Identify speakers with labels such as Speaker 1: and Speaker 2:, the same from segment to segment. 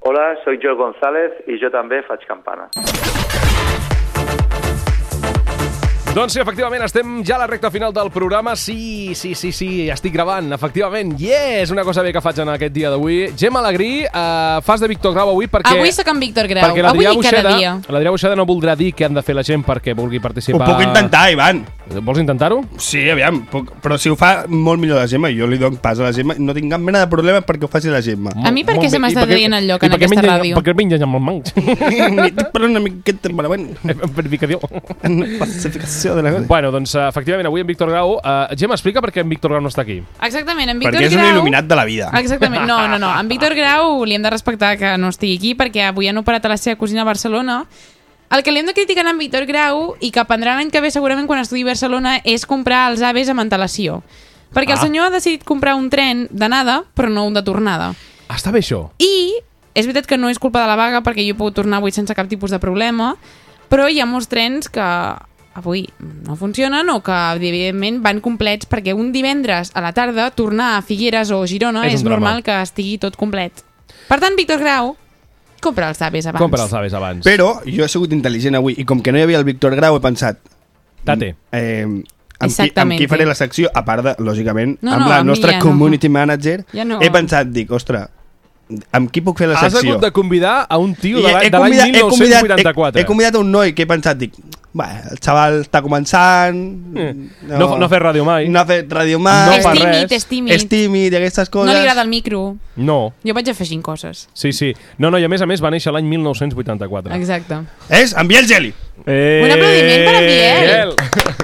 Speaker 1: Hola, soy Joe González i jo també faig campana.
Speaker 2: Doncs sí, efectivament, estem ja a la recta final del programa. Sí, sí, sí, sí, estic gravant, efectivament. Yes, una cosa bé que faig en aquest dia d'avui. Gemma Alegrí, eh, fas de Víctor Grau avui perquè...
Speaker 3: Avui sóc en Víctor Grau.
Speaker 2: Perquè
Speaker 3: Avui
Speaker 2: l'Adrià
Speaker 3: i cada
Speaker 2: Buixeda,
Speaker 3: dia.
Speaker 2: l'Adrià Buixeda no voldrà dir què han de fer la gent perquè vulgui participar...
Speaker 4: Ho puc intentar, Ivan.
Speaker 2: Vols intentar-ho?
Speaker 4: Sí, aviam, puc, però si ho fa molt millor la Gemma, jo li dono pas a la Gemma, no tinc cap mena de problema perquè ho faci la Gemma.
Speaker 3: A mi per
Speaker 2: Molt
Speaker 3: què se
Speaker 2: bé. I
Speaker 3: m'està
Speaker 2: perquè-
Speaker 3: traient el lloc
Speaker 2: i
Speaker 3: en
Speaker 2: perquè
Speaker 3: aquesta
Speaker 2: mengen-
Speaker 3: ràdio?
Speaker 2: Perquè mengen amb el manx.
Speaker 4: però una miqueta, però bueno,
Speaker 2: Perdicació.
Speaker 4: una pacificació de la cosa.
Speaker 2: Bueno, doncs eh, efectivament, avui en Víctor Grau... Eh, Gemma, explica per què en Víctor Grau no està aquí.
Speaker 3: Exactament, en Víctor
Speaker 4: Perquè és un
Speaker 3: Grau...
Speaker 4: il·luminat de la vida.
Speaker 3: Exactament. No, no, no. En Víctor Grau li hem de respectar que no estigui aquí perquè avui han operat a la seva cosina a Barcelona. El que li hem de criticar en Víctor Grau i que aprendrà l'any que ve segurament quan estudi a Barcelona és comprar els aves amb antelació. Perquè ah. el senyor ha decidit comprar un tren d'anada però no un de tornada.
Speaker 2: Està bé això.
Speaker 3: I és veritat que no és culpa de la vaga perquè jo he pogut tornar avui sense cap tipus de problema, però hi ha molts trens que avui no funcionen o que evidentment van complets perquè un divendres a la tarda tornar a Figueres o Girona
Speaker 2: És
Speaker 3: és,
Speaker 2: un
Speaker 3: és
Speaker 2: drama.
Speaker 3: normal que estigui tot complet. Per tant, Víctor Grau, compra els aves abans.
Speaker 2: Compra els aves abans.
Speaker 4: Però jo he sigut intel·ligent avui i com que no hi havia el Víctor Grau he pensat
Speaker 2: Tate.
Speaker 4: eh, amb, qui, amb
Speaker 3: Exactament.
Speaker 4: qui faré la secció, a part de, lògicament,
Speaker 3: No,
Speaker 4: amb
Speaker 3: no,
Speaker 4: la
Speaker 3: amb mi
Speaker 4: nostra
Speaker 3: ja no.
Speaker 4: community manager,
Speaker 3: Ja no.
Speaker 4: he pensat, dic, ostres, amb qui puc fer la
Speaker 2: Has
Speaker 4: secció?
Speaker 2: hagut de convidar a un tio de
Speaker 4: I
Speaker 2: l'any de l'any 1984.
Speaker 4: he, he convidat un noi que he pensat, dic, va, el xaval està començant...
Speaker 2: Eh. No fa- no ha fet ràdio mai.
Speaker 4: No ha fet ràdio mai.
Speaker 2: No
Speaker 3: és,
Speaker 2: fa
Speaker 3: tímid,
Speaker 2: res.
Speaker 3: és tímid,
Speaker 4: És tímid i aquestes
Speaker 3: No
Speaker 4: coses.
Speaker 3: li agrada el micro.
Speaker 2: No,
Speaker 3: Jo vaig afegint coses.
Speaker 2: sí, sí. No, no, i a més a més va néixer l'any 1984.
Speaker 3: Exacte.
Speaker 4: És en Biel Geli.
Speaker 5: Eh,
Speaker 3: Un aplaudiment per a Biel.
Speaker 2: Biel.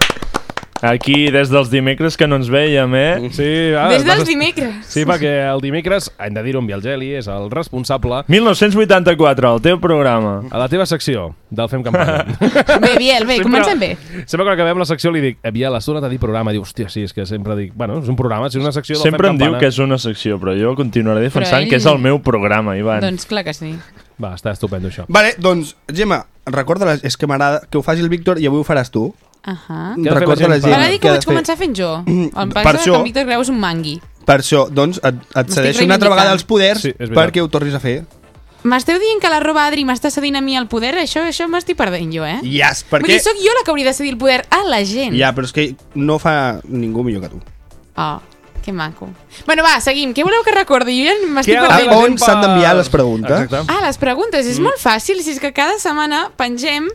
Speaker 5: Aquí, des dels dimecres que no ens veiem, eh?
Speaker 2: Sí, ara,
Speaker 3: Des dels
Speaker 2: vas-
Speaker 3: dimecres.
Speaker 2: Ah, doncs- Sí, perquè el dimecres, hem de dir-ho amb Biel Geli, és el responsable
Speaker 5: 1984, el teu programa.
Speaker 2: a la teva secció del Fem Campanya.
Speaker 3: Bé, Biel, bé, comencem bé.
Speaker 2: Sempre quan acabem la secció li dic, "Eh, Biel, has tornat a dir programa. Diu, hòstia, sí, és que sempre dic, bueno, és un programa, si és una secció del
Speaker 5: Sempre
Speaker 2: Fem
Speaker 5: em diu
Speaker 2: Campana.
Speaker 5: que és una secció, però jo continuaré defensant
Speaker 3: ell-
Speaker 5: que és el meu programa, Ivan.
Speaker 3: Doncs clar que sí.
Speaker 2: Va, està estupendo això.
Speaker 4: Vale, doncs, Gemma, recorda les, és que m'agrada que ho faci el Víctor i avui ho faràs tu.
Speaker 3: Ahà.
Speaker 2: Què ha de fer
Speaker 4: Recorda
Speaker 2: la
Speaker 4: la
Speaker 2: gent?
Speaker 4: gent.
Speaker 3: Ah. M'agrada dir
Speaker 4: què
Speaker 3: que
Speaker 4: ha
Speaker 3: ho
Speaker 4: de
Speaker 3: vaig
Speaker 4: fer.
Speaker 3: començar fent jo.
Speaker 2: Mm,
Speaker 3: El
Speaker 4: per
Speaker 3: passa
Speaker 4: això-
Speaker 3: que en Víctor Grau és un mangui.
Speaker 4: Per això, doncs, et, et cedeixo una altra
Speaker 3: reivindicant. Eh?
Speaker 4: vegada els poders
Speaker 2: Sí, és veritat.
Speaker 4: perquè ho tornis a fer.
Speaker 3: M'esteu dient que l'arroba Adri m'està cedint a mi el poder? Això això m'estic perdent jo, eh?
Speaker 4: Yes,
Speaker 3: Vull
Speaker 4: perquè...
Speaker 3: dir, sóc jo la que hauria de cedir el poder a la gent.
Speaker 4: Ja, però és que no fa ningú millor que tu.
Speaker 3: Oh, que maco. Bueno, va, seguim. Què voleu que recordi? Jo ja m'estic
Speaker 2: Què ha de fer Mm.
Speaker 3: perdent.
Speaker 2: la
Speaker 4: on
Speaker 2: gent
Speaker 4: s'han
Speaker 2: per-
Speaker 4: d'enviar les preguntes?
Speaker 2: Exacte.
Speaker 3: Ah, les preguntes. És molt fàcil, si és que cada setmana pengem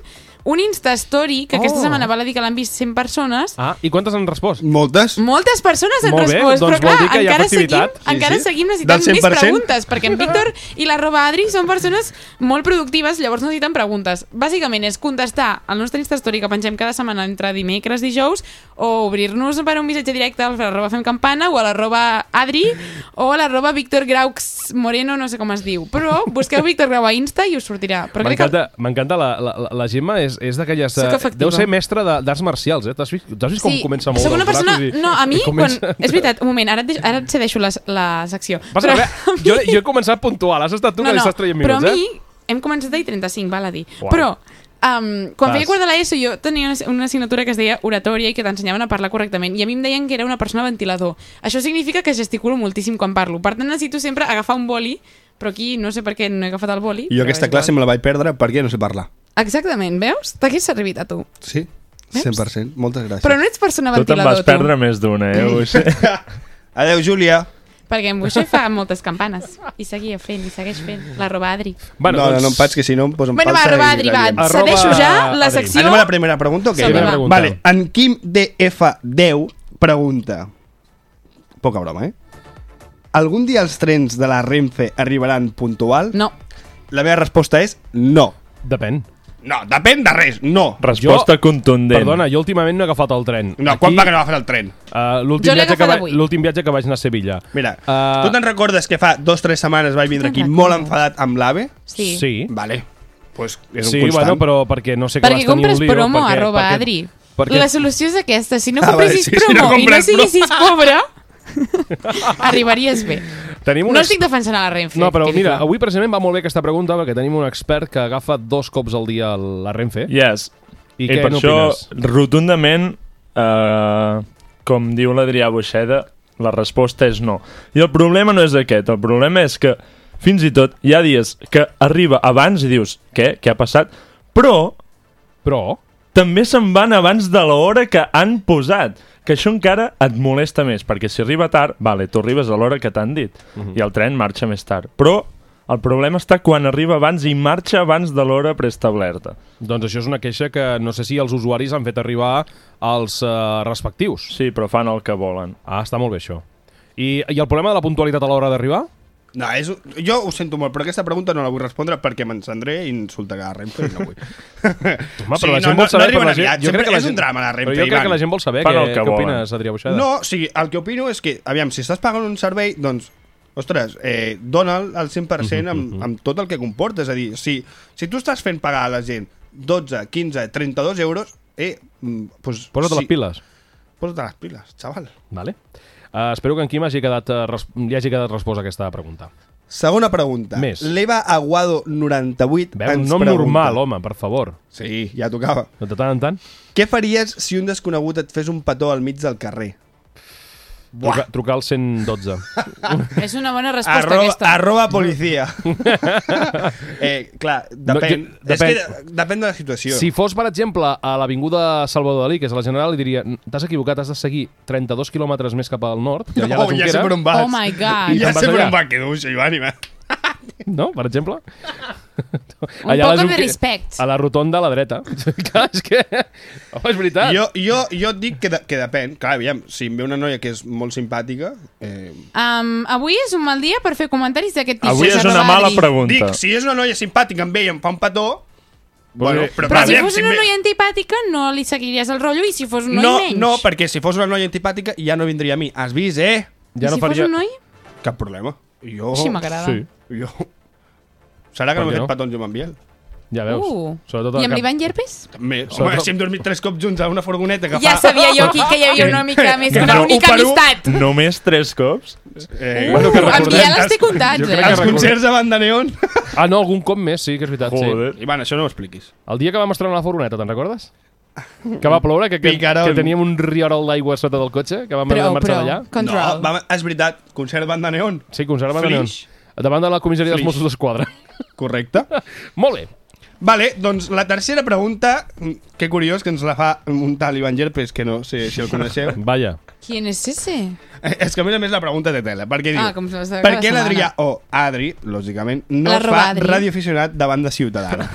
Speaker 3: un Instastory, que aquesta
Speaker 2: Oh.
Speaker 3: setmana val a dir que l'han vist 100 persones,
Speaker 2: Ah, i quantes han respost?
Speaker 4: Moltes?
Speaker 3: Moltes persones han
Speaker 2: Molt bé,
Speaker 3: respost,
Speaker 2: doncs
Speaker 3: però clar,
Speaker 2: vol dir que hi ha
Speaker 3: encara, seguim,
Speaker 2: festivitat.
Speaker 3: sí, encara
Speaker 4: sí.
Speaker 3: seguim
Speaker 4: Del
Speaker 3: necessitant
Speaker 4: 100%.
Speaker 3: més preguntes, perquè en Víctor i l'arroba Adri són persones molt productives, llavors no necessiten preguntes. Bàsicament és contestar al nostre Instastory que pengem cada setmana entre dimecres i dijous o obrir-nos per un missatge directe al arroba Fem Campana o a l'arroba Adri o a l'arroba Víctor Graux Moreno, no sé com es diu. Però busqueu Víctor Grau a Insta i us sortirà. Però crec que...
Speaker 2: M'encanta, m'encanta la, la, la- la Gemma és, és d'aquelles...
Speaker 3: Sóc
Speaker 2: eh,
Speaker 3: efectiva.
Speaker 2: Deu ser mestra de- d'arts marcials, eh? T'has vist, t'has vist com comença a moure
Speaker 3: Sóc una
Speaker 2: els braços
Speaker 3: persona...
Speaker 2: i-
Speaker 3: No, a mi,
Speaker 2: i eh, comença-
Speaker 3: quan... És veritat, un moment, ara et, deix- ara et cedeixo la, la secció.
Speaker 2: Passa, a veure, jo, jo he començat puntual, has estat tu que li estàs traient minuts,
Speaker 3: però a mi
Speaker 2: eh?
Speaker 3: hem començat a dir 35, val a dir.
Speaker 2: Uau.
Speaker 3: Però um,
Speaker 2: Vas.
Speaker 3: quan feia quart de l'ESO jo tenia una, una assignatura que es deia oratòria i que t'ensenyaven a parlar correctament i a mi em deien que era una persona ventilador. Això significa que gesticulo moltíssim quan parlo. Per tant, necessito sempre agafar un boli però aquí no sé per què no he agafat el boli.
Speaker 4: Jo
Speaker 3: però
Speaker 4: aquesta
Speaker 3: és
Speaker 4: classe
Speaker 3: igual.
Speaker 4: me la vaig perdre perquè no sé parlar.
Speaker 3: Exactament, veus? T'hagués servit a tu.
Speaker 4: Sí, 100%. Moltes gràcies.
Speaker 3: Però no ets persona
Speaker 5: tu te'n
Speaker 3: ventilador,
Speaker 5: vas perdre més d'una, eh? Ho sé.
Speaker 4: Adeu, Júlia.
Speaker 3: Perquè en Buixer fa moltes campanes. I seguia fent, i segueix fent. L'arroba Adri.
Speaker 4: Bueno, no, no,
Speaker 2: doncs,
Speaker 4: no em faig, que si no em posen
Speaker 3: Bueno, va,
Speaker 4: falta
Speaker 3: arroba
Speaker 4: i
Speaker 3: Adri,
Speaker 4: la
Speaker 3: va.
Speaker 4: liem.
Speaker 2: Arroba
Speaker 3: Cedeixo ja la
Speaker 2: Adri.
Speaker 3: secció.
Speaker 4: Anem a la primera pregunta o què?
Speaker 3: Sí, Primera va.
Speaker 2: pregunta.
Speaker 4: Vale, en Quim DF10 pregunta... Poca broma, eh? Algun dia els trens de la Renfe arribaran puntual?
Speaker 3: No.
Speaker 4: La meva resposta és no.
Speaker 2: Depèn.
Speaker 4: No, depèn de res, no.
Speaker 5: Resposta contundent.
Speaker 2: Perdona, jo últimament no he agafat el tren.
Speaker 4: No, quan va que no agafes el tren?
Speaker 2: Uh,
Speaker 3: Jo
Speaker 2: L'últim
Speaker 3: l'he
Speaker 2: viatge, que
Speaker 3: agafat
Speaker 2: va-
Speaker 3: avui.
Speaker 2: l'últim viatge que vaig anar a Sevilla.
Speaker 4: Mira,
Speaker 2: Eh,
Speaker 4: tu te'n recordes que fa dos o tres setmanes vaig vindre aquí
Speaker 3: Te'n
Speaker 4: molt
Speaker 3: recordes?
Speaker 4: enfadat amb l'AVE?
Speaker 3: Sí.
Speaker 2: Sí.
Speaker 4: Vale, pues és
Speaker 2: sí,
Speaker 4: un constant.
Speaker 2: bueno, però perquè no sé que vas
Speaker 3: Perquè
Speaker 2: tenir un
Speaker 3: compres
Speaker 2: lío.
Speaker 3: promo
Speaker 2: perquè,
Speaker 3: arroba
Speaker 2: perquè,
Speaker 3: Adri.
Speaker 2: Perquè,
Speaker 3: La solució és aquesta. Si no
Speaker 4: Ah, vale,
Speaker 3: compressis
Speaker 4: sí, si no
Speaker 3: promo i no
Speaker 4: compres promo.
Speaker 3: siguessis pobre, arribaries bé.
Speaker 2: tenim un
Speaker 3: No estic defensant a la Renfe.
Speaker 2: No, però
Speaker 3: quedi
Speaker 2: mira,
Speaker 3: clar.
Speaker 2: avui precisament va molt bé aquesta pregunta perquè tenim un expert que agafa dos cops al dia la Renfe.
Speaker 5: Yes.
Speaker 2: I
Speaker 5: I,
Speaker 2: què
Speaker 5: Eh, per això,
Speaker 2: n'opines?
Speaker 5: rotundament, eh, com diu l'Adrià Boixeda, la resposta és no. I el problema no és aquest, el problema és que Fins i tot hi ha dies que arriba abans i dius, què? Què ha passat? Però
Speaker 2: Però...
Speaker 5: també se'n van abans de l'hora que han posat. Que això encara et molesta més, perquè si arriba tard, vale, tu arribes a l'hora que t'han dit,
Speaker 2: Mhm.
Speaker 5: i el tren marxa més tard. Però el problema està quan arriba abans i marxa abans de l'hora preestablerta.
Speaker 2: Doncs això és una queixa que no sé si els usuaris han fet arribar als eh, respectius.
Speaker 5: Sí, però fan el que volen.
Speaker 2: Ah, està molt bé això. I, I el problema de la puntualitat a l'hora d'arribar?
Speaker 4: No, és, jo ho sento molt, però aquesta pregunta no la vull respondre perquè m'encendré i insultaré a Renfe i no vull. Home,
Speaker 2: però la gent vol saber, però la gent- jo
Speaker 4: Sempre
Speaker 2: crec que la
Speaker 4: és
Speaker 2: gent-
Speaker 4: un drama, la Renfe,
Speaker 2: Però jo crec
Speaker 4: Ivan.
Speaker 2: que la gent vol saber
Speaker 5: Fan
Speaker 2: què,
Speaker 5: el que
Speaker 2: què
Speaker 5: volen.
Speaker 2: opines, Adrià Buixada.
Speaker 4: No, o sigui, el que opino és que, aviam, si estàs pagant un servei, doncs, ostres, eh, dona'l al 100% amb, amb tot el que comporta. És a dir, si, si tu estàs fent pagar a la gent 12, 15, 32 euros, eh, mm, doncs,
Speaker 2: Posa't
Speaker 4: sí,
Speaker 2: les piles.
Speaker 4: Posa't les piles, xaval.
Speaker 2: Vale. Uh, espero que en Quim hagi quedat, uh, res... li hagi quedat resposta a aquesta pregunta.
Speaker 4: Segona pregunta.
Speaker 2: Més.
Speaker 4: L'Eva Aguado 98
Speaker 2: Veu, un
Speaker 4: ens
Speaker 2: nom
Speaker 4: pregunta...
Speaker 2: normal, home, per favor.
Speaker 4: Sí, ja tocava.
Speaker 2: De tant en tant.
Speaker 4: Què faries si un desconegut et fes un petó al mig del carrer?
Speaker 2: Truca, trucar al 112.
Speaker 3: És una bona resposta
Speaker 4: Arroba,
Speaker 3: aquesta.
Speaker 4: arroba policia. eh, clar,
Speaker 2: jo-
Speaker 4: depèn. No, jo,
Speaker 2: depèn.
Speaker 4: depèn. És que depèn de la situació.
Speaker 2: si fos, per exemple, a l'Avinguda Salvador Dalí, que és a la General, li diria t'has equivocat, has de seguir 32 quilòmetres més cap al nord, que allà a la
Speaker 4: ja sé
Speaker 2: Junquera,
Speaker 4: per on vas.
Speaker 3: Oh my God.
Speaker 2: Com
Speaker 4: Ja sé
Speaker 2: vas
Speaker 4: per
Speaker 2: allà?
Speaker 4: on va, que duixa, Ivan, Ivan.
Speaker 2: no?, per exemple.
Speaker 3: Un
Speaker 2: Allà a la
Speaker 3: poc de
Speaker 2: Junque-
Speaker 3: respect.
Speaker 2: A la rotonda a la dreta. Clar, és que... Home, és veritat.
Speaker 4: Jo, jo, jo et dic que, de, que depèn. Clar, aviam, si em ve una noia que és molt simpàtica... Eh,
Speaker 3: Um, avui és un mal dia per fer comentaris d'aquest tipus.
Speaker 5: Avui és una
Speaker 3: Arroba
Speaker 5: mala
Speaker 3: Adri.
Speaker 5: pregunta.
Speaker 4: dic, si és una noia simpàtica, em ve i em fa un petó... Bueno, però,
Speaker 3: Però si
Speaker 4: aviam,
Speaker 3: fos
Speaker 4: em
Speaker 3: una
Speaker 4: ve-
Speaker 3: noia antipàtica no li seguiries el rotllo i si fos un noi
Speaker 4: No,
Speaker 3: menys.
Speaker 4: no, perquè si fos una noia antipàtica ja no vindria a mi. Has vist, eh?
Speaker 3: I si fos un noi,
Speaker 4: Cap problema. Jo...
Speaker 3: així m'agrada.
Speaker 2: Sí,
Speaker 4: Jo... Serà que
Speaker 2: Per
Speaker 4: no
Speaker 2: què
Speaker 4: m'he
Speaker 2: no?
Speaker 4: fet petons jo amb en Biel?
Speaker 2: ja veus.
Speaker 3: Uh.
Speaker 2: Sobretot
Speaker 3: I amb
Speaker 2: cap-
Speaker 3: l'Ivan Yerpes?
Speaker 4: També. Home,
Speaker 2: Sobretot-
Speaker 4: si hem dormit tres cops junts a una furgoneta que
Speaker 3: Ja
Speaker 4: fa...
Speaker 3: sabia jo aquí que hi havia una mica més,
Speaker 5: que
Speaker 3: una
Speaker 5: no.
Speaker 3: única
Speaker 4: Un per un.
Speaker 3: amistat.
Speaker 5: Només tres cops?
Speaker 4: Eh,
Speaker 3: Bueno, que recordem-
Speaker 4: recordem
Speaker 3: Biel els té comptats,
Speaker 4: Jo
Speaker 3: eh?
Speaker 4: crec que
Speaker 2: Els
Speaker 4: Els
Speaker 2: concerts
Speaker 4: concerts a banda neon.
Speaker 2: Ah, no, algun cop més, sí, que és veritat. Sí.
Speaker 5: Joder.
Speaker 4: Ivan, això no ho expliquis.
Speaker 2: El dia que vam estrenar la furgoneta, te'n recordes? Que va ploure, que, que,
Speaker 4: Picarón.
Speaker 2: que teníem un riorol d'aigua sota del cotxe, que vam haver
Speaker 3: Però,
Speaker 2: de marxar
Speaker 3: però,
Speaker 2: d'allà.
Speaker 3: control.
Speaker 4: No, va, és veritat, concert banda neon.
Speaker 2: Sí, concert de Neon.
Speaker 4: Flix.
Speaker 2: Davant de la comissaria dels
Speaker 4: Flix.
Speaker 2: Mossos d'Esquadra.
Speaker 4: Correcte.
Speaker 2: Molt bé.
Speaker 4: Vale, doncs la tercera pregunta, mm, que curiós que ens la fa un tal Ivan Gerpes, que no sé si el coneixeu.
Speaker 2: Vaja.
Speaker 3: ¿Quién es ese?
Speaker 4: Eh, És que a més a més la pregunta té tela, perquè diu...
Speaker 3: Ah, com se les de
Speaker 4: per
Speaker 3: cada
Speaker 4: què l'Adrià,
Speaker 3: setmana.
Speaker 4: o Adri, lògicament, no
Speaker 3: L'arroba
Speaker 4: fa
Speaker 3: Adri.
Speaker 4: radioaficionat davant de Ciutadana?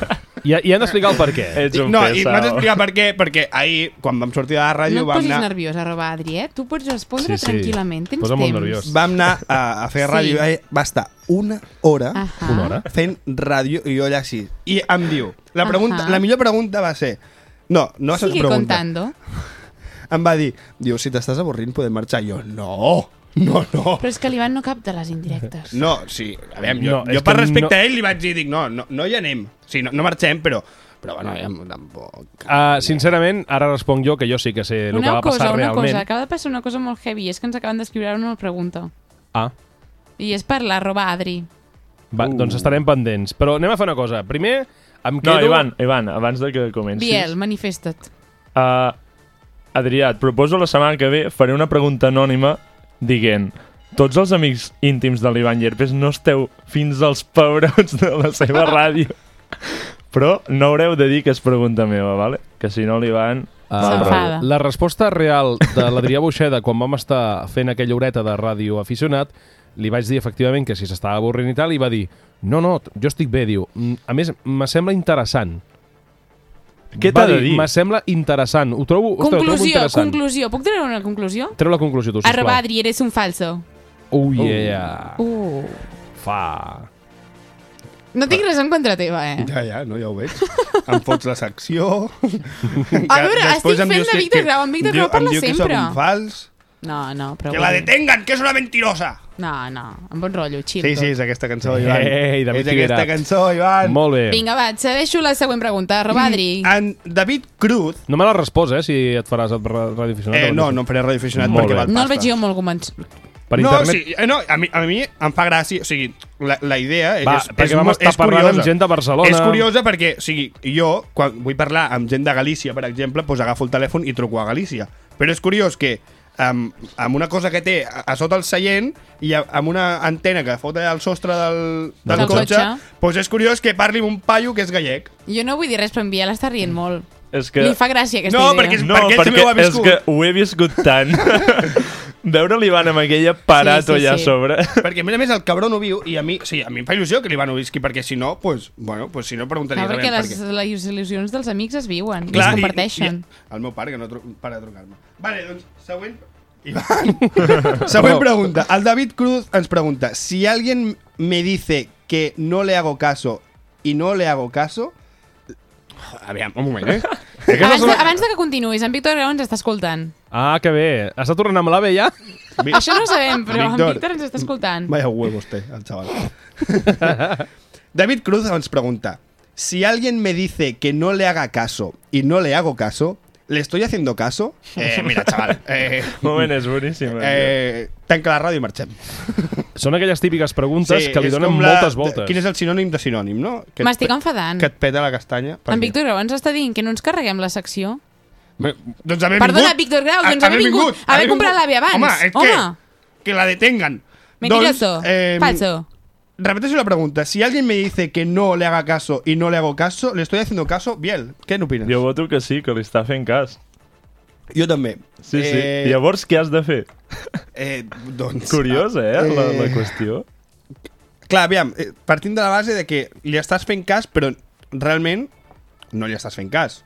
Speaker 2: I, i hem d'explicar el per què.
Speaker 5: Ets un
Speaker 4: no, i
Speaker 5: pesau.
Speaker 4: m'has d'explicar per què, perquè ahir, quan vam sortir de la
Speaker 3: No
Speaker 4: ràdio,
Speaker 3: et
Speaker 4: vam
Speaker 3: posis
Speaker 4: anar...
Speaker 3: nerviós, arroba Adri, eh? Tu pots respondre
Speaker 2: Sí, Pues sí.
Speaker 3: tranquil·lament, tens
Speaker 2: Posa molt
Speaker 3: temps.
Speaker 2: nerviós.
Speaker 4: vam anar a, a fer
Speaker 3: Sí. Ah.
Speaker 4: ràdio eh, va estar una hora
Speaker 3: Ahà.
Speaker 2: Una hora.
Speaker 4: fent ràdio i jo allà així i em diu, la, pregunta,
Speaker 3: Ahà.
Speaker 4: la millor pregunta va ser no, no va ser
Speaker 3: Sigue
Speaker 4: pregunta
Speaker 3: contando.
Speaker 4: em va dir, diu, si t'estàs avorrint podem marxar jo, no, no, no
Speaker 3: Però és que l'Ivan no cap de les indirectes.
Speaker 4: no, sí, a veure, jo,
Speaker 5: No,
Speaker 4: no, jo
Speaker 5: és
Speaker 4: per
Speaker 5: que
Speaker 4: respecte
Speaker 5: no-
Speaker 4: a ell li vaig dir, dic, no, no, no hi anem sí, no, no marxem, però però bueno, ja, tampoc
Speaker 2: Uh, sincerament, ara responc jo, que jo sí que sé el que
Speaker 3: una
Speaker 2: va
Speaker 3: cosa,
Speaker 2: passar
Speaker 3: una
Speaker 2: realment.
Speaker 3: cosa, acaba de passar una cosa molt heavy, és que ens acaben d'escriure una pregunta.
Speaker 2: Ah,
Speaker 3: I és per l'arroba Adri.
Speaker 2: va, uh. doncs estarem pendents. Però anem a fer una cosa. Primer, em
Speaker 5: No,
Speaker 2: quedo...
Speaker 5: Ivan, Ivan, abans de que comencis...
Speaker 3: Biel, manifesta't.
Speaker 5: Uh, Adrià, et proposo la setmana que ve faré una pregunta anònima dient tots els amics íntims de l'Ivan Llerpes no esteu fins als pebrots de la seva ràdio. Però no haureu de dir que és pregunta meva, vale? Que si no l'Ivan...
Speaker 2: Ah,
Speaker 3: S'enfada.
Speaker 2: la resposta real de l'Adrià Boixeda quan vam estar fent aquella horeta de ràdio aficionat, li vaig dir efectivament que si s'estava avorrint i tal, i va dir no, no, jo estic bé, diu. "Mm, A més, me sembla interessant.
Speaker 5: Què
Speaker 2: Va
Speaker 5: t'ha de dir?
Speaker 2: Me sembla interessant. Ho trobo, ostres, ho trobo
Speaker 3: conclusió,
Speaker 2: interessant.
Speaker 3: conclusió. Puc treure una conclusió?
Speaker 2: Treu la conclusió, tu, sisplau.
Speaker 3: Arroba Adri, eres un falso.
Speaker 2: Oh, yeah. Uh.
Speaker 3: Uh.
Speaker 2: Fa.
Speaker 3: No tinc res en contra teva, eh?
Speaker 4: ja, ja, no, ja ho veig em fots la secció
Speaker 3: A veure,
Speaker 4: Després
Speaker 3: estic
Speaker 4: em
Speaker 3: fent
Speaker 4: dius
Speaker 3: de
Speaker 4: que-
Speaker 3: Víctor
Speaker 4: que-
Speaker 3: Grau, en Víctor
Speaker 4: em diu-
Speaker 3: Grau parla
Speaker 4: em diu que
Speaker 3: sempre.
Speaker 4: soc un fals
Speaker 3: No, no, però...
Speaker 4: Que la
Speaker 3: bueno.
Speaker 4: detengan, que es una mentirosa.
Speaker 3: No, no, amb bon rotllo, chill.
Speaker 4: Sí,
Speaker 3: tot. Eh,
Speaker 4: sí, és aquesta cançó, Ivan.
Speaker 2: Ei, David
Speaker 4: és aquesta
Speaker 2: Figueras.
Speaker 4: cançó, Ivan.
Speaker 2: Molt bé.
Speaker 3: Vinga, va, et cedeixo la següent pregunta, Robadri.
Speaker 4: En David Cruz...
Speaker 2: No me l'has respost, eh, si et faràs a ra- Radio Aficionado.
Speaker 4: Eh, no, no em faré radioaficionat
Speaker 2: Molt
Speaker 4: perquè
Speaker 2: bé.
Speaker 4: val
Speaker 3: No el
Speaker 4: pasta.
Speaker 3: veig jo molt convençut.
Speaker 2: Per
Speaker 4: no,
Speaker 2: internet...
Speaker 4: sí, eh, no, a mi, a mi em fa gràcia, o sigui, la, la idea és,
Speaker 2: Va,
Speaker 4: és,
Speaker 2: perquè
Speaker 4: és,
Speaker 2: vam
Speaker 4: mo-
Speaker 2: estar
Speaker 4: és
Speaker 2: parlant
Speaker 4: curiosa.
Speaker 2: amb gent de Barcelona.
Speaker 4: És curiosa perquè, o sigui, jo, quan vull parlar amb gent de Galícia, per exemple, doncs agafo el telèfon i truco a Galícia. Però és curiós que amb, amb una cosa que té a, a sota el seient i a, amb una antena que fot allà al sostre del, del,
Speaker 3: Del
Speaker 4: cotxe,
Speaker 3: cotxe.
Speaker 4: doncs pues és curiós que parli amb un paio que és gallec.
Speaker 3: Jo no vull dir res, però en Biel està rient molt.
Speaker 5: És
Speaker 3: Que... Li fa gràcia aquesta
Speaker 4: Mm. No,
Speaker 3: idea.
Speaker 4: perquè és-
Speaker 5: No,
Speaker 4: ell també
Speaker 5: perquè
Speaker 4: ho ha
Speaker 5: és
Speaker 4: viscut.
Speaker 5: que ho he viscut tant. Veure l'Ivan amb aquella parato
Speaker 3: Sí, sí,
Speaker 5: allà
Speaker 3: sí.
Speaker 5: a sobre.
Speaker 4: Perquè, a més a més, el cabró no viu i a mi, sí, a mi em fa il·lusió que l'Ivan ho visqui, perquè si no, pues, bueno, pues, si no preguntaria
Speaker 3: Clar, perquè
Speaker 4: realment
Speaker 3: les,
Speaker 4: per què.
Speaker 3: les il·lusions dels amics es viuen, Clar,
Speaker 4: Clar,
Speaker 3: es
Speaker 4: i-
Speaker 3: comparteixen.
Speaker 4: I, i, el meu pare, que no tru para de trucar-me. Vale, doncs, següent... Ivan. següent pregunta. El David Cruz ens pregunta si alguien me dice que no le hago caso y no le hago caso... Aviam, un moment, eh?
Speaker 3: Abans, de, abans de que continuïs, en Víctor Grau ens està escoltant.
Speaker 2: Ah, que bé. Està tornant amb l'AVE ja?
Speaker 4: Vi-
Speaker 3: Això no ho sabem, però en
Speaker 4: Víctor.
Speaker 3: Víctor ens està escoltant.
Speaker 4: Vaya huevos té, el chaval. David Cruz nos pregunta, si alguien me dice que no le haga caso y no le hago caso, ¿le estoy haciendo caso? Eh, mira, chaval, eh,
Speaker 5: Moment, és boníssim.
Speaker 4: eh, tanca la ràdio i marxem.
Speaker 2: Són aquelles típiques preguntes que li
Speaker 4: és
Speaker 2: donen
Speaker 4: com la-
Speaker 2: moltes voltes.
Speaker 4: Quin és el sinònim de sinònim, no? Que et
Speaker 3: M'estic
Speaker 4: pe-
Speaker 3: enfadant.
Speaker 4: Que et peta la castanya. Per
Speaker 3: En
Speaker 4: què?
Speaker 3: Víctor Grau ens està dient que no ens carreguem la secció.
Speaker 4: Bé, Doncs haver
Speaker 3: Perdona,
Speaker 4: vingut.
Speaker 3: Víctor Grau,
Speaker 4: Ha-
Speaker 3: doncs haver vingut. Haver comprat
Speaker 4: vingut.
Speaker 3: l'AVE abans.
Speaker 4: Home, és
Speaker 3: Home.
Speaker 4: que... Que la detengan.
Speaker 3: Mentiroso,
Speaker 4: Doncs, em,
Speaker 3: falso.
Speaker 4: Repeteixo la pregunta. Si alguien me dice que no le haga caso y no le hago caso, le estoy haciendo caso, Biel, ¿qué opinas?
Speaker 5: Jo voto que sí, que li està fent cas.
Speaker 4: Yo también.
Speaker 5: Sí, sí. Llavors, què has de fer?
Speaker 4: Eh, doncs,
Speaker 5: Curiós, eh,
Speaker 4: eh,
Speaker 5: la, la qüestió.
Speaker 4: Clar, aviam, eh, partint de la base de que li estàs fent cas, però realment no li estàs fent cas.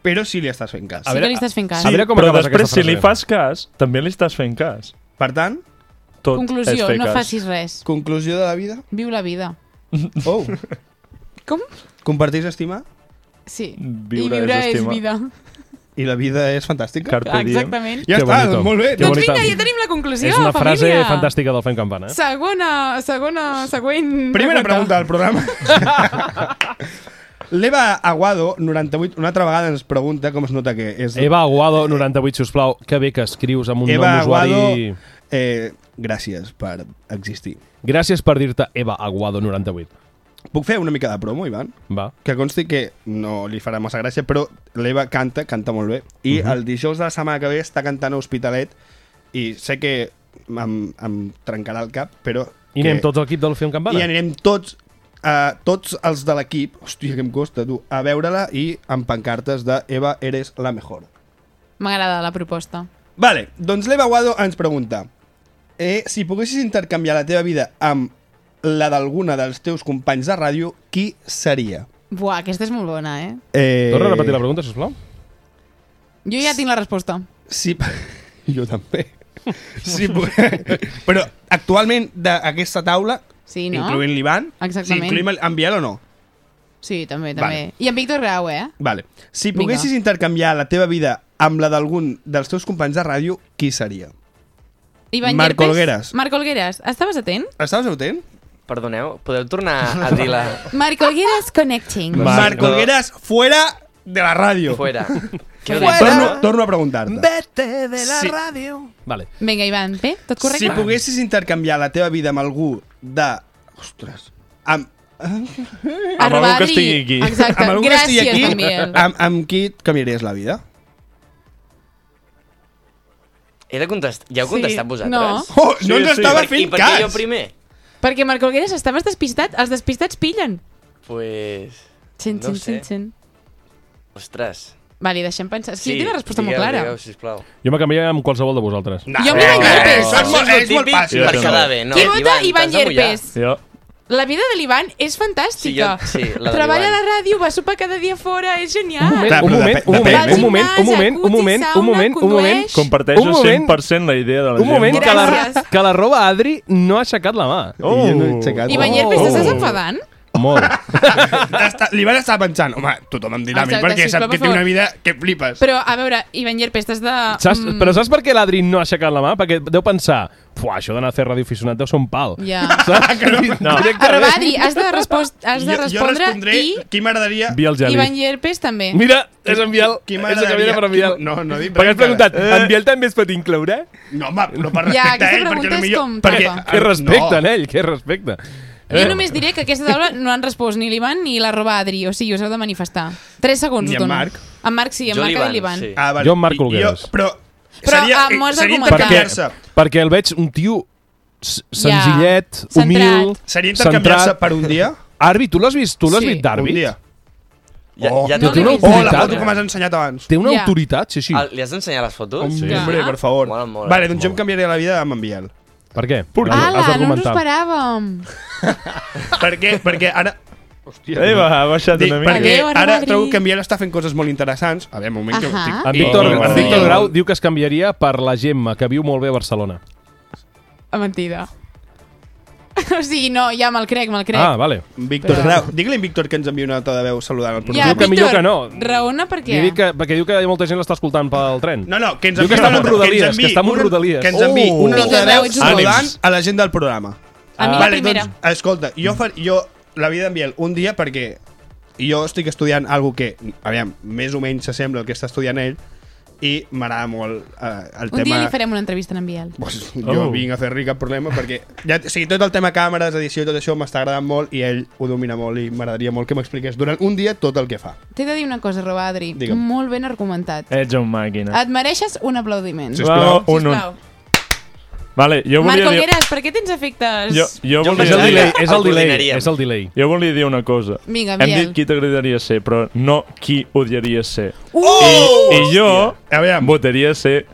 Speaker 4: Però sí li estàs fent cas.
Speaker 3: Sí que li estàs fent cas.
Speaker 2: A veure com
Speaker 5: Però
Speaker 2: acabes
Speaker 5: després,
Speaker 2: aquesta
Speaker 5: si
Speaker 2: frase.
Speaker 5: li fas cas, també li estàs fent cas.
Speaker 4: Per tant,
Speaker 5: Tot
Speaker 3: Conclusió,
Speaker 5: és fer
Speaker 3: no
Speaker 5: cas.
Speaker 3: facis res.
Speaker 4: conclusió de la vida.
Speaker 3: Viu la vida.
Speaker 4: Oh,
Speaker 3: Com?
Speaker 4: comparteix estimar
Speaker 3: Sí.
Speaker 5: Viure
Speaker 3: I viure
Speaker 5: és
Speaker 3: és,
Speaker 5: estimar.
Speaker 3: vida.
Speaker 4: i la vida és fantàstica.
Speaker 5: Carpe diem.
Speaker 3: Exactament.
Speaker 4: Ja
Speaker 2: Que
Speaker 4: està,
Speaker 2: bonito.
Speaker 4: doncs molt bé.
Speaker 2: Que
Speaker 3: Doncs
Speaker 2: bonita.
Speaker 3: vinga, ja tenim la conclusió,
Speaker 2: és una
Speaker 3: família.
Speaker 2: frase fantàstica del Fem Campana. Eh?
Speaker 3: Segona, segona, següent...
Speaker 4: Primera pregunta del programa. L'Eva Aguado, 98, una altra vegada ens pregunta com es nota que és...
Speaker 2: Eva Aguado, 98, sisplau. Que bé que escrius amb un
Speaker 4: Eva
Speaker 2: nom
Speaker 4: Aguado,
Speaker 2: usuari...
Speaker 4: eh, gràcies per existir.
Speaker 2: Gràcies per dir-te Eva Aguado, 98.
Speaker 4: Puc fer una mica de promo, Ivan?
Speaker 2: Va.
Speaker 4: Que consti que no li farà massa gràcia, però l'Eva canta, canta molt bé. I
Speaker 2: Mhm.
Speaker 4: el dijous de la setmana que ve està cantant a Hospitalet i sé que em, em trencarà el cap, però...
Speaker 2: I
Speaker 4: que...
Speaker 2: anem tot l'equip del Film Campana.
Speaker 4: I anirem tots, uh, tots els de l'equip, hòstia, que em costa, tu, a veure-la i amb pancartes de Eva, eres la mejor.
Speaker 3: M'agrada la proposta.
Speaker 4: Vale, doncs l'Eva Guado ens pregunta eh, si poguessis intercanviar la teva vida amb la d'alguna dels teus companys de ràdio, qui seria?
Speaker 3: Buah, aquesta és molt bona, eh?
Speaker 4: Eh,
Speaker 2: Torna a repetir la pregunta, sisplau.
Speaker 3: Jo ja tinc la resposta.
Speaker 4: Si... jo també. si pu- Però actualment d'aquesta taula,
Speaker 3: Sí, no?
Speaker 4: incloent l'Ivan, si
Speaker 3: Exactament.
Speaker 4: incloem el- en Biel o no?
Speaker 3: Sí, també, també.
Speaker 4: Vale.
Speaker 3: I en Víctor Grau, eh?
Speaker 4: Vale. Si
Speaker 3: Vinga.
Speaker 4: poguessis intercanviar la teva vida amb la d'algun dels teus companys de ràdio, qui seria?
Speaker 3: Ivan
Speaker 4: Marc
Speaker 3: Llerpes.
Speaker 4: Olgueres.
Speaker 3: Marc Olgueres, estaves atent?
Speaker 4: Estaves autent?
Speaker 6: Perdoneu, podeu tornar a dir-la
Speaker 3: Marc Olgueras Connecting.
Speaker 4: Marc, Marc
Speaker 6: però-
Speaker 4: Olgueras, fuera de la ràdio.
Speaker 6: fuera.
Speaker 3: Fuera.
Speaker 4: Torno, torno a preguntar-te.
Speaker 6: Vete de
Speaker 4: la Sí.
Speaker 6: ràdio.
Speaker 2: Vale.
Speaker 3: Vinga, Ivan, bé? Tot correcte?
Speaker 4: Si poguessis intercanviar la teva vida amb algú de... Ostres. Amb,
Speaker 5: Amb algú que
Speaker 3: Adri.
Speaker 5: estigui aquí.
Speaker 3: Exacte,
Speaker 4: amb algú
Speaker 3: gràcies,
Speaker 4: que estigui aquí,
Speaker 3: Daniel.
Speaker 4: amb, amb qui et canviaries la vida?
Speaker 6: He de contestar... Ja heu
Speaker 3: Sí,
Speaker 6: contestat vosaltres?
Speaker 3: no.
Speaker 4: Oh,
Speaker 5: Sí,
Speaker 4: no ens
Speaker 5: sí.
Speaker 4: estava
Speaker 5: Per-
Speaker 4: fent
Speaker 6: I per
Speaker 4: cas!
Speaker 6: què jo primer?
Speaker 3: Perquè, Marc Olgueres, estaves despistat? Els despistats pillen.
Speaker 6: Pues...
Speaker 3: Xin,
Speaker 6: No
Speaker 3: xin,
Speaker 6: ho sé.
Speaker 3: xin, xin.
Speaker 6: Ostres.
Speaker 3: Vale, deixem pensar. És que sí, jo tinc la resposta molt
Speaker 6: digueu,
Speaker 3: clara.
Speaker 6: Digueu, sisplau. Ah,
Speaker 2: Jo m'acanviaria amb qualsevol de vosaltres.
Speaker 4: No,
Speaker 3: Jo amb Ivan
Speaker 4: eh,
Speaker 3: Llerpes.
Speaker 4: Això és molt,
Speaker 6: Això
Speaker 4: és molt
Speaker 6: típic
Speaker 4: fàcil.
Speaker 5: Jo
Speaker 6: Per
Speaker 5: també.
Speaker 6: quedar bé, no?
Speaker 3: Qui vota Ivan
Speaker 6: t'has de mullar.
Speaker 3: Llerpes?
Speaker 5: Jo,
Speaker 3: La vida de l'Ivan és fantàstica.
Speaker 6: Sí, jo- sí, la de
Speaker 3: Treballa a la
Speaker 6: l'Ivan.
Speaker 3: ràdio, va a sopar cada dia fora, és genial.
Speaker 4: Clar,
Speaker 2: un
Speaker 4: però
Speaker 2: moment,
Speaker 4: depèn-
Speaker 2: un moment,
Speaker 4: depèn, eh?
Speaker 2: un moment, un moment, un moment, un moment, un moment.
Speaker 3: Jacuzzi, sauna,
Speaker 5: comparteixo
Speaker 2: Un moment.
Speaker 5: 100% la idea de la
Speaker 2: Un moment, que
Speaker 5: Gemma.
Speaker 2: la,
Speaker 3: Gràcies.
Speaker 2: que la roba Adri no ha aixecat la mà.
Speaker 4: Oh. I jo no he aixecat.
Speaker 3: Ivan
Speaker 4: Oh.
Speaker 3: Llerpes, t'estàs
Speaker 2: Oh.
Speaker 3: enfadant?
Speaker 2: Molt.
Speaker 4: Està- Li van estar pensant, home, tothom em dirà a mi,
Speaker 3: Exacte,
Speaker 4: perquè
Speaker 3: sisplau,
Speaker 4: sap que
Speaker 3: per
Speaker 4: té
Speaker 3: favor.
Speaker 4: una vida que flipes.
Speaker 3: Però, a veure, Ivan Llerpes, t'has de...
Speaker 2: Saps,
Speaker 3: mm,
Speaker 2: Però saps per què l'Adri no ha aixecat la mà? Perquè deu pensar, fuà, això d'anar a fer radioaficionat deu ser un pal.
Speaker 3: Ja.
Speaker 4: Ah,
Speaker 2: Saps? No.
Speaker 3: Arroba, Adri, has de, respost... has de
Speaker 4: jo, jo
Speaker 3: respondre
Speaker 4: respondré
Speaker 3: i
Speaker 4: qui m'agradaria...
Speaker 2: Biel Geli.
Speaker 3: Ivan Llerpes també.
Speaker 2: Mira, és en Biel.
Speaker 4: Qui
Speaker 2: és el que
Speaker 4: m'agradaria?
Speaker 2: viene per en Biel.
Speaker 4: Qui- no, no he dit
Speaker 2: Perquè
Speaker 4: res
Speaker 2: has preguntat,
Speaker 4: encara. Eh.
Speaker 2: en Biel també es pot incloure?
Speaker 4: No, home, però per
Speaker 3: Ja,
Speaker 4: respecte
Speaker 3: aquesta
Speaker 4: a ell, perquè
Speaker 3: pregunta és
Speaker 4: Ah, no millor...
Speaker 3: com trampa.
Speaker 2: Que respecte, en ell, Eh. que respecte.
Speaker 3: Jo
Speaker 4: eh.
Speaker 3: només diré que aquesta taula no han respost ni l'Ivan ni l'arroba Adri, o sigui, us heu de manifestar. 3 segons
Speaker 4: Ni
Speaker 3: us
Speaker 4: en
Speaker 3: dono.
Speaker 4: Marc.
Speaker 3: En Marc sí, en
Speaker 6: Jo
Speaker 3: Marc i
Speaker 6: l'Ivan,
Speaker 3: l'Ivan.
Speaker 6: sí.
Speaker 4: Ah, vale.
Speaker 2: Jo amb Marc
Speaker 4: I- jo-
Speaker 2: Olgueras.
Speaker 4: Però
Speaker 3: Però ah,
Speaker 4: seria,
Speaker 3: amb molts
Speaker 4: seria
Speaker 3: argumentals.
Speaker 4: intercanviar-se.
Speaker 2: Perquè el veig un tio s- senzillet,
Speaker 3: centrat.
Speaker 2: humil,
Speaker 4: Seria intercanviar-se per un dia?
Speaker 2: Arbi, tu l'has vist? Tu l'has
Speaker 3: Sí.
Speaker 2: vist d'Arbi?
Speaker 4: Un dia.
Speaker 6: Ja,
Speaker 4: Oh,
Speaker 6: ja
Speaker 3: no
Speaker 6: t'ho
Speaker 3: té
Speaker 6: dic.
Speaker 3: una
Speaker 4: Oh, la
Speaker 2: Veritat?
Speaker 4: foto que m'has ensenyat abans.
Speaker 2: Té una
Speaker 3: Ja.
Speaker 2: autoritat, sí, sí.
Speaker 6: Ah, Li has d'ensenyar les fotos?
Speaker 2: Home.
Speaker 3: Ja.
Speaker 4: Hombre, per favor.
Speaker 6: Mola, mola,
Speaker 4: vale, doncs jo em
Speaker 6: mola.
Speaker 4: canviaré la vida amb en Biel.
Speaker 2: Per què?
Speaker 5: Per què?
Speaker 2: Has
Speaker 3: Ala, no ens ho
Speaker 2: d'argumentar.
Speaker 3: esperàvem.
Speaker 4: per què? Perquè ara...
Speaker 5: Eh, va, ha baixat
Speaker 4: Dic,
Speaker 5: una mica.
Speaker 4: perquè
Speaker 3: Adéu,
Speaker 4: ara
Speaker 3: Armadri.
Speaker 4: trobo que en Biel està fent coses molt interessants. A veure, un moment que...
Speaker 3: Ahà.
Speaker 4: estic-
Speaker 2: En
Speaker 5: I-
Speaker 2: Víctor,
Speaker 5: Oh.
Speaker 2: en Víctor
Speaker 5: Oh.
Speaker 2: Grau diu que es canviaria per la Gemma, que viu molt bé a Barcelona.
Speaker 3: Ah, Mentida. O sigui, no, ja me'l crec, me'l crec.
Speaker 2: Ah, vale.
Speaker 4: Víctor Grau. Digue-li a en Víctor que ens envia una nota de veu saludant el
Speaker 3: ja,
Speaker 4: programa.
Speaker 2: diu que millor
Speaker 3: Víctor,
Speaker 2: que no.
Speaker 3: Raona per què?
Speaker 2: Li dic que, perquè diu que molta gent l'està escoltant pel tren.
Speaker 4: No, no, que ens
Speaker 2: Diu que
Speaker 4: enviï
Speaker 2: està
Speaker 4: una
Speaker 2: amb
Speaker 4: nota-
Speaker 2: Rodalies,
Speaker 4: ens enviï
Speaker 2: que està amb
Speaker 4: una-
Speaker 2: Rodalies.
Speaker 4: Que ens enviï
Speaker 2: Oh.
Speaker 4: una nota de veu
Speaker 3: Ànims.
Speaker 4: saludant a la gent del programa.
Speaker 3: A mi la primera.
Speaker 4: Doncs, escolta, jo, far, jo la vida d'en Biel un dia perquè jo estic estudiant algo que, aviam, més o menys s'assembla al que està estudiant ell i m'agrada molt eh, el
Speaker 3: Un
Speaker 4: tema...
Speaker 3: dia li farem una entrevista a en Biel.
Speaker 4: Pues, jo
Speaker 5: Oh.
Speaker 4: vinc a fer-li cap problema perquè ja, o sigui, tot el tema càmeres, edició i tot això m'està agradant molt i ell ho domina molt i m'agradaria molt que m'expliqués durant un dia tot el que fa.
Speaker 3: T'he de dir una cosa, Robadri.
Speaker 4: Digue'm.
Speaker 3: Molt ben argumentat.
Speaker 5: Ets un màquina.
Speaker 3: Et mereixes un aplaudiment.
Speaker 4: Sí,
Speaker 5: Va,
Speaker 4: sisplau.
Speaker 5: eh. un, un.
Speaker 3: Ah, Sisplau.
Speaker 5: Vale, jo
Speaker 3: Marc
Speaker 5: volia dir...
Speaker 3: Olgueras, per què tens efectes?
Speaker 5: Jo, jo,
Speaker 6: Jo
Speaker 2: És
Speaker 5: volia
Speaker 2: el
Speaker 6: pensava
Speaker 5: dir,
Speaker 2: delay, és el delay,
Speaker 6: coordinaríem.
Speaker 2: és el delay.
Speaker 5: jo volia dir una cosa.
Speaker 3: Vinga,
Speaker 5: Hem
Speaker 3: Biel.
Speaker 5: dit qui t'agradaria ser, però no qui odiaria ser.
Speaker 3: Uh!
Speaker 5: I jo
Speaker 4: Oh! Aviam.
Speaker 5: votaria ser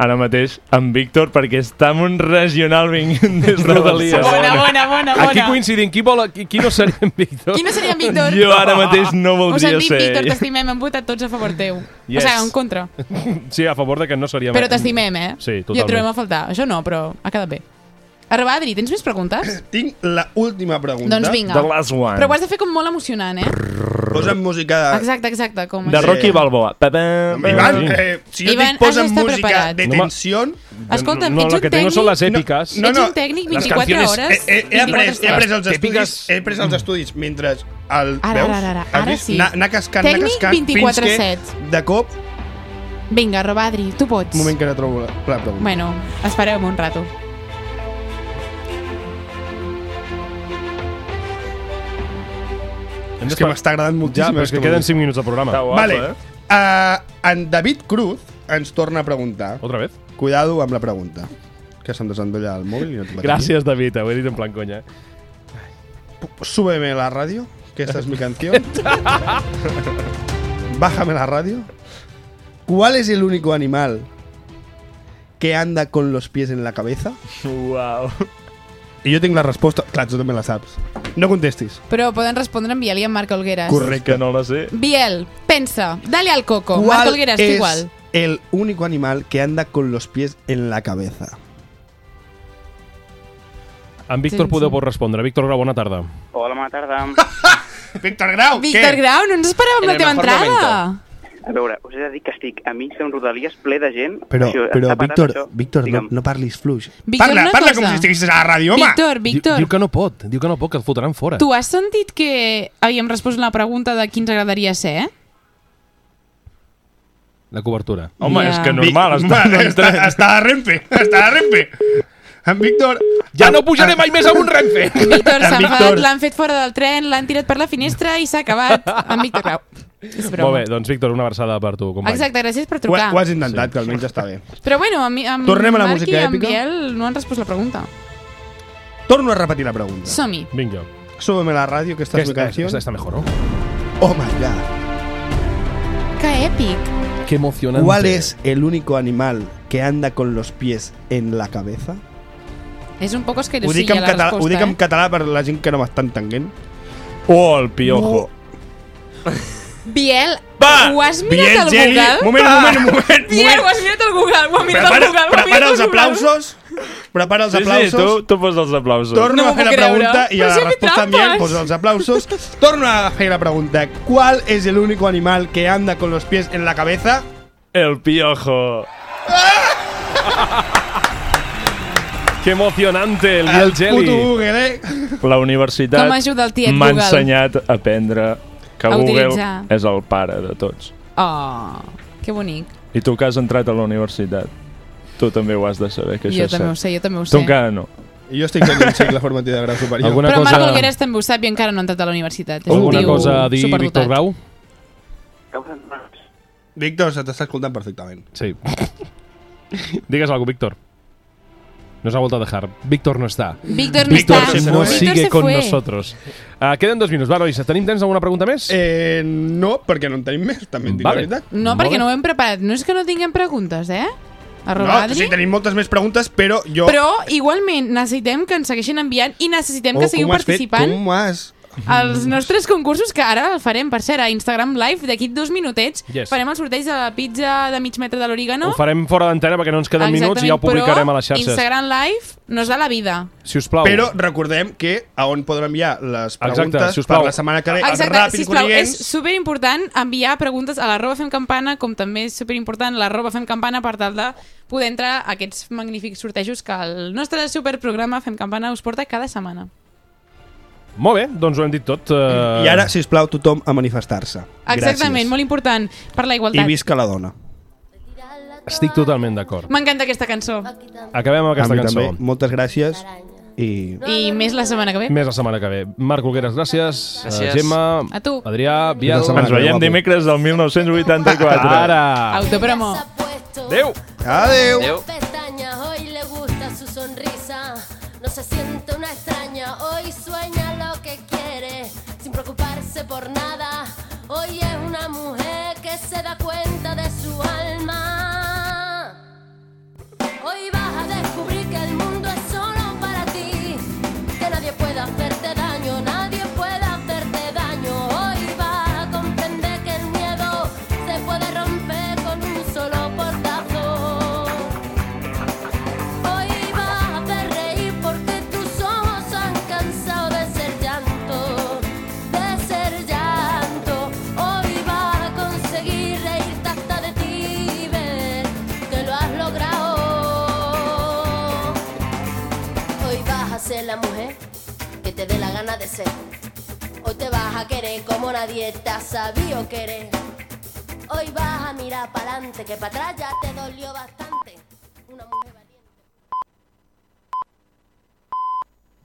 Speaker 5: ara mateix amb Víctor perquè està en un regional vingut des de
Speaker 2: Rodalies.
Speaker 3: Bona,
Speaker 5: Barcelona.
Speaker 3: bona, bona, bona.
Speaker 2: Aquí coincidim, qui, vol, qui, qui no seria en Víctor?
Speaker 3: Qui no seria en Víctor?
Speaker 5: Jo ara mateix no
Speaker 3: Us
Speaker 5: voldria
Speaker 3: han dit,
Speaker 5: ser
Speaker 3: Víctor,
Speaker 5: ell.
Speaker 3: t'estimem, hem votat tots a favor teu.
Speaker 5: Yes.
Speaker 3: O sigui, en contra.
Speaker 2: Sí, a favor de que no seria...
Speaker 3: Però t'estimem, eh?
Speaker 2: Sí,
Speaker 3: I et trobem
Speaker 2: totalment.
Speaker 3: a faltar. Això no, però ha quedat bé. Arroba, Adri, tens més preguntes?
Speaker 4: Tinc la última pregunta.
Speaker 3: doncs vinga.
Speaker 5: The last one.
Speaker 3: Però ho has de fer com molt emocionant, eh?
Speaker 4: Posa'm música...
Speaker 3: Exacte, exacte. Com
Speaker 5: De
Speaker 3: així.
Speaker 5: Rocky Balboa. Pa-pam,
Speaker 4: Home, Ivan,
Speaker 5: pa-pam.
Speaker 4: eh, si jo
Speaker 3: Ivan,
Speaker 4: Ivan, dic posa'm
Speaker 3: has d'estar
Speaker 4: música
Speaker 3: preparat.
Speaker 4: de
Speaker 2: No, ma-
Speaker 4: tensió...
Speaker 3: Escolta'm,
Speaker 2: no,
Speaker 3: ets
Speaker 2: la
Speaker 3: un
Speaker 2: que tengo són
Speaker 3: tècnic?
Speaker 2: les èpiques.
Speaker 4: No,
Speaker 3: Ets
Speaker 4: no,
Speaker 3: un tècnic
Speaker 2: les canciones-
Speaker 3: 24
Speaker 2: eh,
Speaker 3: hores.
Speaker 4: He, he, he,
Speaker 3: 24
Speaker 4: après, he
Speaker 3: hores.
Speaker 4: après els
Speaker 2: Típiques- Mm.
Speaker 4: estudis, he après els estudis mentre el...
Speaker 3: Ara,
Speaker 4: veus?
Speaker 3: ara, ara,
Speaker 4: Has
Speaker 3: ara
Speaker 4: vist?
Speaker 3: sí.
Speaker 4: Anar, anar cascant, anar
Speaker 3: Tècnic
Speaker 4: cascant, fins
Speaker 3: 24/7.
Speaker 4: que de cop...
Speaker 3: Vinga, Robadri, tu pots.
Speaker 4: Un moment que no trobo la, la pregunta.
Speaker 3: Bueno, espereu un rato.
Speaker 4: és que m'està agradant
Speaker 2: Ja,
Speaker 4: moltíssim.
Speaker 2: però
Speaker 4: és
Speaker 2: és que
Speaker 4: m'ho
Speaker 2: queden
Speaker 4: dic.
Speaker 2: 5 minuts de programa.
Speaker 5: Està guapo,
Speaker 4: Vale.
Speaker 5: eh?
Speaker 4: Uh, en David Cruz ens torna a preguntar.
Speaker 2: Otra vez?
Speaker 4: Cuidado amb la pregunta. Que se'm desendolla el mòbil i no et
Speaker 2: Gràcies, David, ho he dit en plan conya. eh?
Speaker 4: Súbeme la radio, que esta es mi canción. Bájame la radio. ¿Cuál es el único animal que anda con los pies en la cabeza?
Speaker 5: Uau.
Speaker 4: I jo tinc la resposta. Clar, tu també la saps. No contestis.
Speaker 3: Però poden respondre en Biel i en Marc Olgueras.
Speaker 4: Correcte.
Speaker 5: Que no la sé.
Speaker 3: Biel, pensa, dale al coco. Marc
Speaker 4: ¿Cuál
Speaker 3: Olgueras, tu
Speaker 4: es
Speaker 3: igual.
Speaker 4: el único animal que anda con los pies en la cabeza?
Speaker 2: En Víctor
Speaker 3: Sí,
Speaker 2: podeu
Speaker 3: sí.
Speaker 2: pot respondre. Víctor Grau, bona tarda.
Speaker 7: Hola, bona tarda.
Speaker 4: Víctor Grau,
Speaker 3: Víctor Grau, no ens esperàvem
Speaker 7: En
Speaker 3: la
Speaker 7: el
Speaker 3: teva
Speaker 7: mejor
Speaker 3: entrada.
Speaker 7: A veure, us he de dir que estic a mig d'un rodalies ple de gent.
Speaker 4: Però,
Speaker 7: Això,
Speaker 4: però
Speaker 7: està parat,
Speaker 4: Víctor,
Speaker 7: això.
Speaker 4: Víctor no,
Speaker 7: Digue'm.
Speaker 4: no parlis fluix.
Speaker 3: Víctor,
Speaker 4: parla,
Speaker 3: una
Speaker 4: parla
Speaker 3: cosa.
Speaker 4: com si estiguessis a la ràdio, home!
Speaker 3: Víctor, Víctor,
Speaker 2: Diu, diu que no pot, diu que no pot, que el fotran fora.
Speaker 3: tu has sentit que havíem respost la pregunta de qui ens agradaria ser?
Speaker 2: La cobertura.
Speaker 5: Home,
Speaker 3: Ja.
Speaker 5: és que normal,
Speaker 4: Vi-
Speaker 5: està
Speaker 4: Home,
Speaker 5: en un
Speaker 4: està,
Speaker 5: tren.
Speaker 4: està a Renfe, està a Renfe. En Víctor...
Speaker 2: Ja no pujaré mai més a un Renfe!
Speaker 3: Víctor s'ha
Speaker 4: En
Speaker 3: enfadat,
Speaker 4: Víctor.
Speaker 3: l'han fet fora del tren, l'han tirat per la finestra i s'ha acabat amb Víctor Grau. És
Speaker 2: Molt
Speaker 3: broma.
Speaker 2: bé, doncs Víctor, una versada per tu, company.
Speaker 3: Exacte, gràcies per
Speaker 4: Ho, ha-
Speaker 3: trucar.
Speaker 4: ho has intentat, sí. que almenys està bé.
Speaker 3: Però bueno, amb, amb
Speaker 4: Tornem a la
Speaker 3: Marc
Speaker 4: música
Speaker 3: i amb
Speaker 4: èpica.
Speaker 3: Biel no han respost la pregunta.
Speaker 4: Torno a repetir la pregunta.
Speaker 3: Som-hi.
Speaker 2: Vinga.
Speaker 4: Súbeme la radio, que esta es mi canción.
Speaker 2: Esta está mejor, ¿no?
Speaker 4: Oh my God.
Speaker 3: Que èpic.
Speaker 2: Qué emocionante.
Speaker 4: ¿Cuál es el único animal que anda con los pies en la cabeza?
Speaker 3: És un poc
Speaker 4: Ho dic,
Speaker 3: esquerosilla
Speaker 4: en
Speaker 3: la
Speaker 4: català, ho dic
Speaker 3: resposta,
Speaker 4: en
Speaker 3: eh?
Speaker 4: català per la gent que no m'està entenguent.
Speaker 5: Oh, el piojo.
Speaker 3: Biel,
Speaker 5: Va!
Speaker 3: ho has mirat al
Speaker 4: Geli,
Speaker 3: Google?
Speaker 4: moment, un moment, un moment, un
Speaker 3: Biel, ho
Speaker 4: moment.
Speaker 3: has mirat al Google, ho ha mirat al
Speaker 4: Prepara,
Speaker 3: Google. ho ha mirat
Speaker 4: prepara
Speaker 3: al
Speaker 4: els
Speaker 3: Google.
Speaker 4: aplausos. Prepara els
Speaker 5: Sí, sí, tu,
Speaker 4: aplausos.
Speaker 5: tu poses els aplausos.
Speaker 4: Torno
Speaker 3: No
Speaker 4: a fer
Speaker 3: m'ho
Speaker 4: la
Speaker 3: puc creure.
Speaker 4: pregunta i a
Speaker 3: Però
Speaker 4: la
Speaker 3: si he fet
Speaker 4: resposta enviant
Speaker 3: trampes.
Speaker 4: poso els aplausos. Torno a fer la pregunta. ¿Cuál es el único animal que anda con los pies en la cabeza?
Speaker 5: El piojo.
Speaker 2: Qué emocionante el Biel
Speaker 4: Puto
Speaker 2: Jelly.
Speaker 4: Google, eh?
Speaker 5: La universitat
Speaker 3: Com ajuda el tiet
Speaker 5: m'ha
Speaker 3: Google.
Speaker 5: ensenyat a aprendre que
Speaker 3: A
Speaker 5: Google
Speaker 3: utilitzar.
Speaker 5: és el pare de tots.
Speaker 3: Oh, que bonic.
Speaker 5: I tu que has entrat a la universitat, tu també ho has de saber, que
Speaker 3: Jo
Speaker 5: això és
Speaker 3: també ho
Speaker 5: cert.
Speaker 3: sé, jo també ho
Speaker 5: Tu
Speaker 3: sé.
Speaker 5: encara no.
Speaker 4: I jo estic fent un cicle formatiu de grau superior.
Speaker 2: Alguna
Speaker 3: Però Marc
Speaker 2: cosa,
Speaker 3: Olgueres també ho sap i encara no ha entrat a la universitat. És
Speaker 2: alguna
Speaker 3: un tio
Speaker 2: cosa a dir,
Speaker 3: superdotat.
Speaker 2: Víctor Grau?
Speaker 4: Víctor, se t'està escoltant perfectament.
Speaker 2: Sí. Digues alguna Víctor. Nos ha vuelto a dejar. Víctor no está.
Speaker 3: Víctor no
Speaker 2: Víctor
Speaker 3: está.
Speaker 2: no
Speaker 3: Víctor se
Speaker 2: sigue con
Speaker 3: fue.
Speaker 2: nosotros. Ah, queden dos minutos. Va, nois, tenim temps d'alguna pregunta més?
Speaker 4: Eh, no, perquè no en tenim més, també et dic
Speaker 2: Vale.
Speaker 4: la veritat.
Speaker 3: No,
Speaker 2: Molt
Speaker 3: perquè
Speaker 2: bé.
Speaker 3: no ho hem preparat. No és que no tinguem preguntes, eh? Arroba
Speaker 4: No,
Speaker 3: Adri.
Speaker 4: sí, tenim moltes més preguntes, però jo...
Speaker 3: Però igualment necessitem que ens segueixin enviant i necessitem
Speaker 4: Oh,
Speaker 3: que seguiu
Speaker 4: com has fet?
Speaker 3: participant
Speaker 4: Com has...
Speaker 3: als nostres concursos que ara el farem, per cert, a Instagram Live d'aquí dos minutets.
Speaker 2: Yes.
Speaker 3: Farem el sorteig de la pizza de mig metre de l'origano.
Speaker 2: Ho farem fora d'antena perquè no ens queden minuts i ja ho publicarem a les xarxes.
Speaker 3: Instagram Live nos da la vida.
Speaker 2: Si us plau.
Speaker 4: Però recordem que a on podrem enviar les preguntes
Speaker 2: sisplau.
Speaker 4: per la setmana que ve
Speaker 3: Exacte,
Speaker 4: ràpid
Speaker 3: sisplau, és
Speaker 4: col·leguents.
Speaker 3: superimportant enviar preguntes a l'arroba femcampana, com també és superimportant l'arroba femcampana per tal de poder entrar a aquests magnífics sortejos que el nostre superprograma Fem Campana us porta cada setmana.
Speaker 2: Molt bé, doncs ho hem dit tot. eh.
Speaker 4: I ara, sisplau, tothom a manifestar-se.
Speaker 3: Exactament,
Speaker 4: Gràcies.
Speaker 3: molt important per la
Speaker 4: I
Speaker 3: igualtat.
Speaker 4: visca la dona.
Speaker 2: Estic totalment d'acord.
Speaker 3: M'encanta aquesta cançó.
Speaker 2: Acabem amb aquesta
Speaker 4: a mi
Speaker 2: cançó.
Speaker 4: també. Moltes gràcies. I
Speaker 3: I més la setmana que ve.
Speaker 2: Més la setmana que ve. Marc Olgueres, gràcies. Eh,
Speaker 6: Gràcies.
Speaker 2: Gemma,
Speaker 3: A tu.
Speaker 2: Adrià, Biel.
Speaker 4: Fins la setmana
Speaker 5: Ens
Speaker 4: que
Speaker 5: veiem
Speaker 4: guapo.
Speaker 5: dimecres del 1984.
Speaker 2: Ara.
Speaker 3: Autopromo.
Speaker 2: Adéu.
Speaker 4: adeu.
Speaker 6: Adéu.
Speaker 8: pestañas, hoy le gusta su sonrisa. No se siente una extraña, hoy sueña lo que quiere, sin preocuparse por nada. Hoy es una mujer que se da cuenta de su alma. Hoy vas a descubrir que el mundo es solo para ti, que nadie puede hacerte daño, nadie puede hacerte daño. Hoy vas a comprender que el miedo se puede romper con un solo portazo. Hoy vas a hacer reír porque tus ojos han cansado de ser llanto, de ser llanto. Hoy vas a conseguir reírte hasta de ti, ver que lo has logrado. Hoy vas a ser la mujer que te dé la gana de ser. Hoy te vas a querer como nadie te ha sabido querer. Hoy vas a mirar para adelante, que para atrás ya te dolió bastante. Una mujer-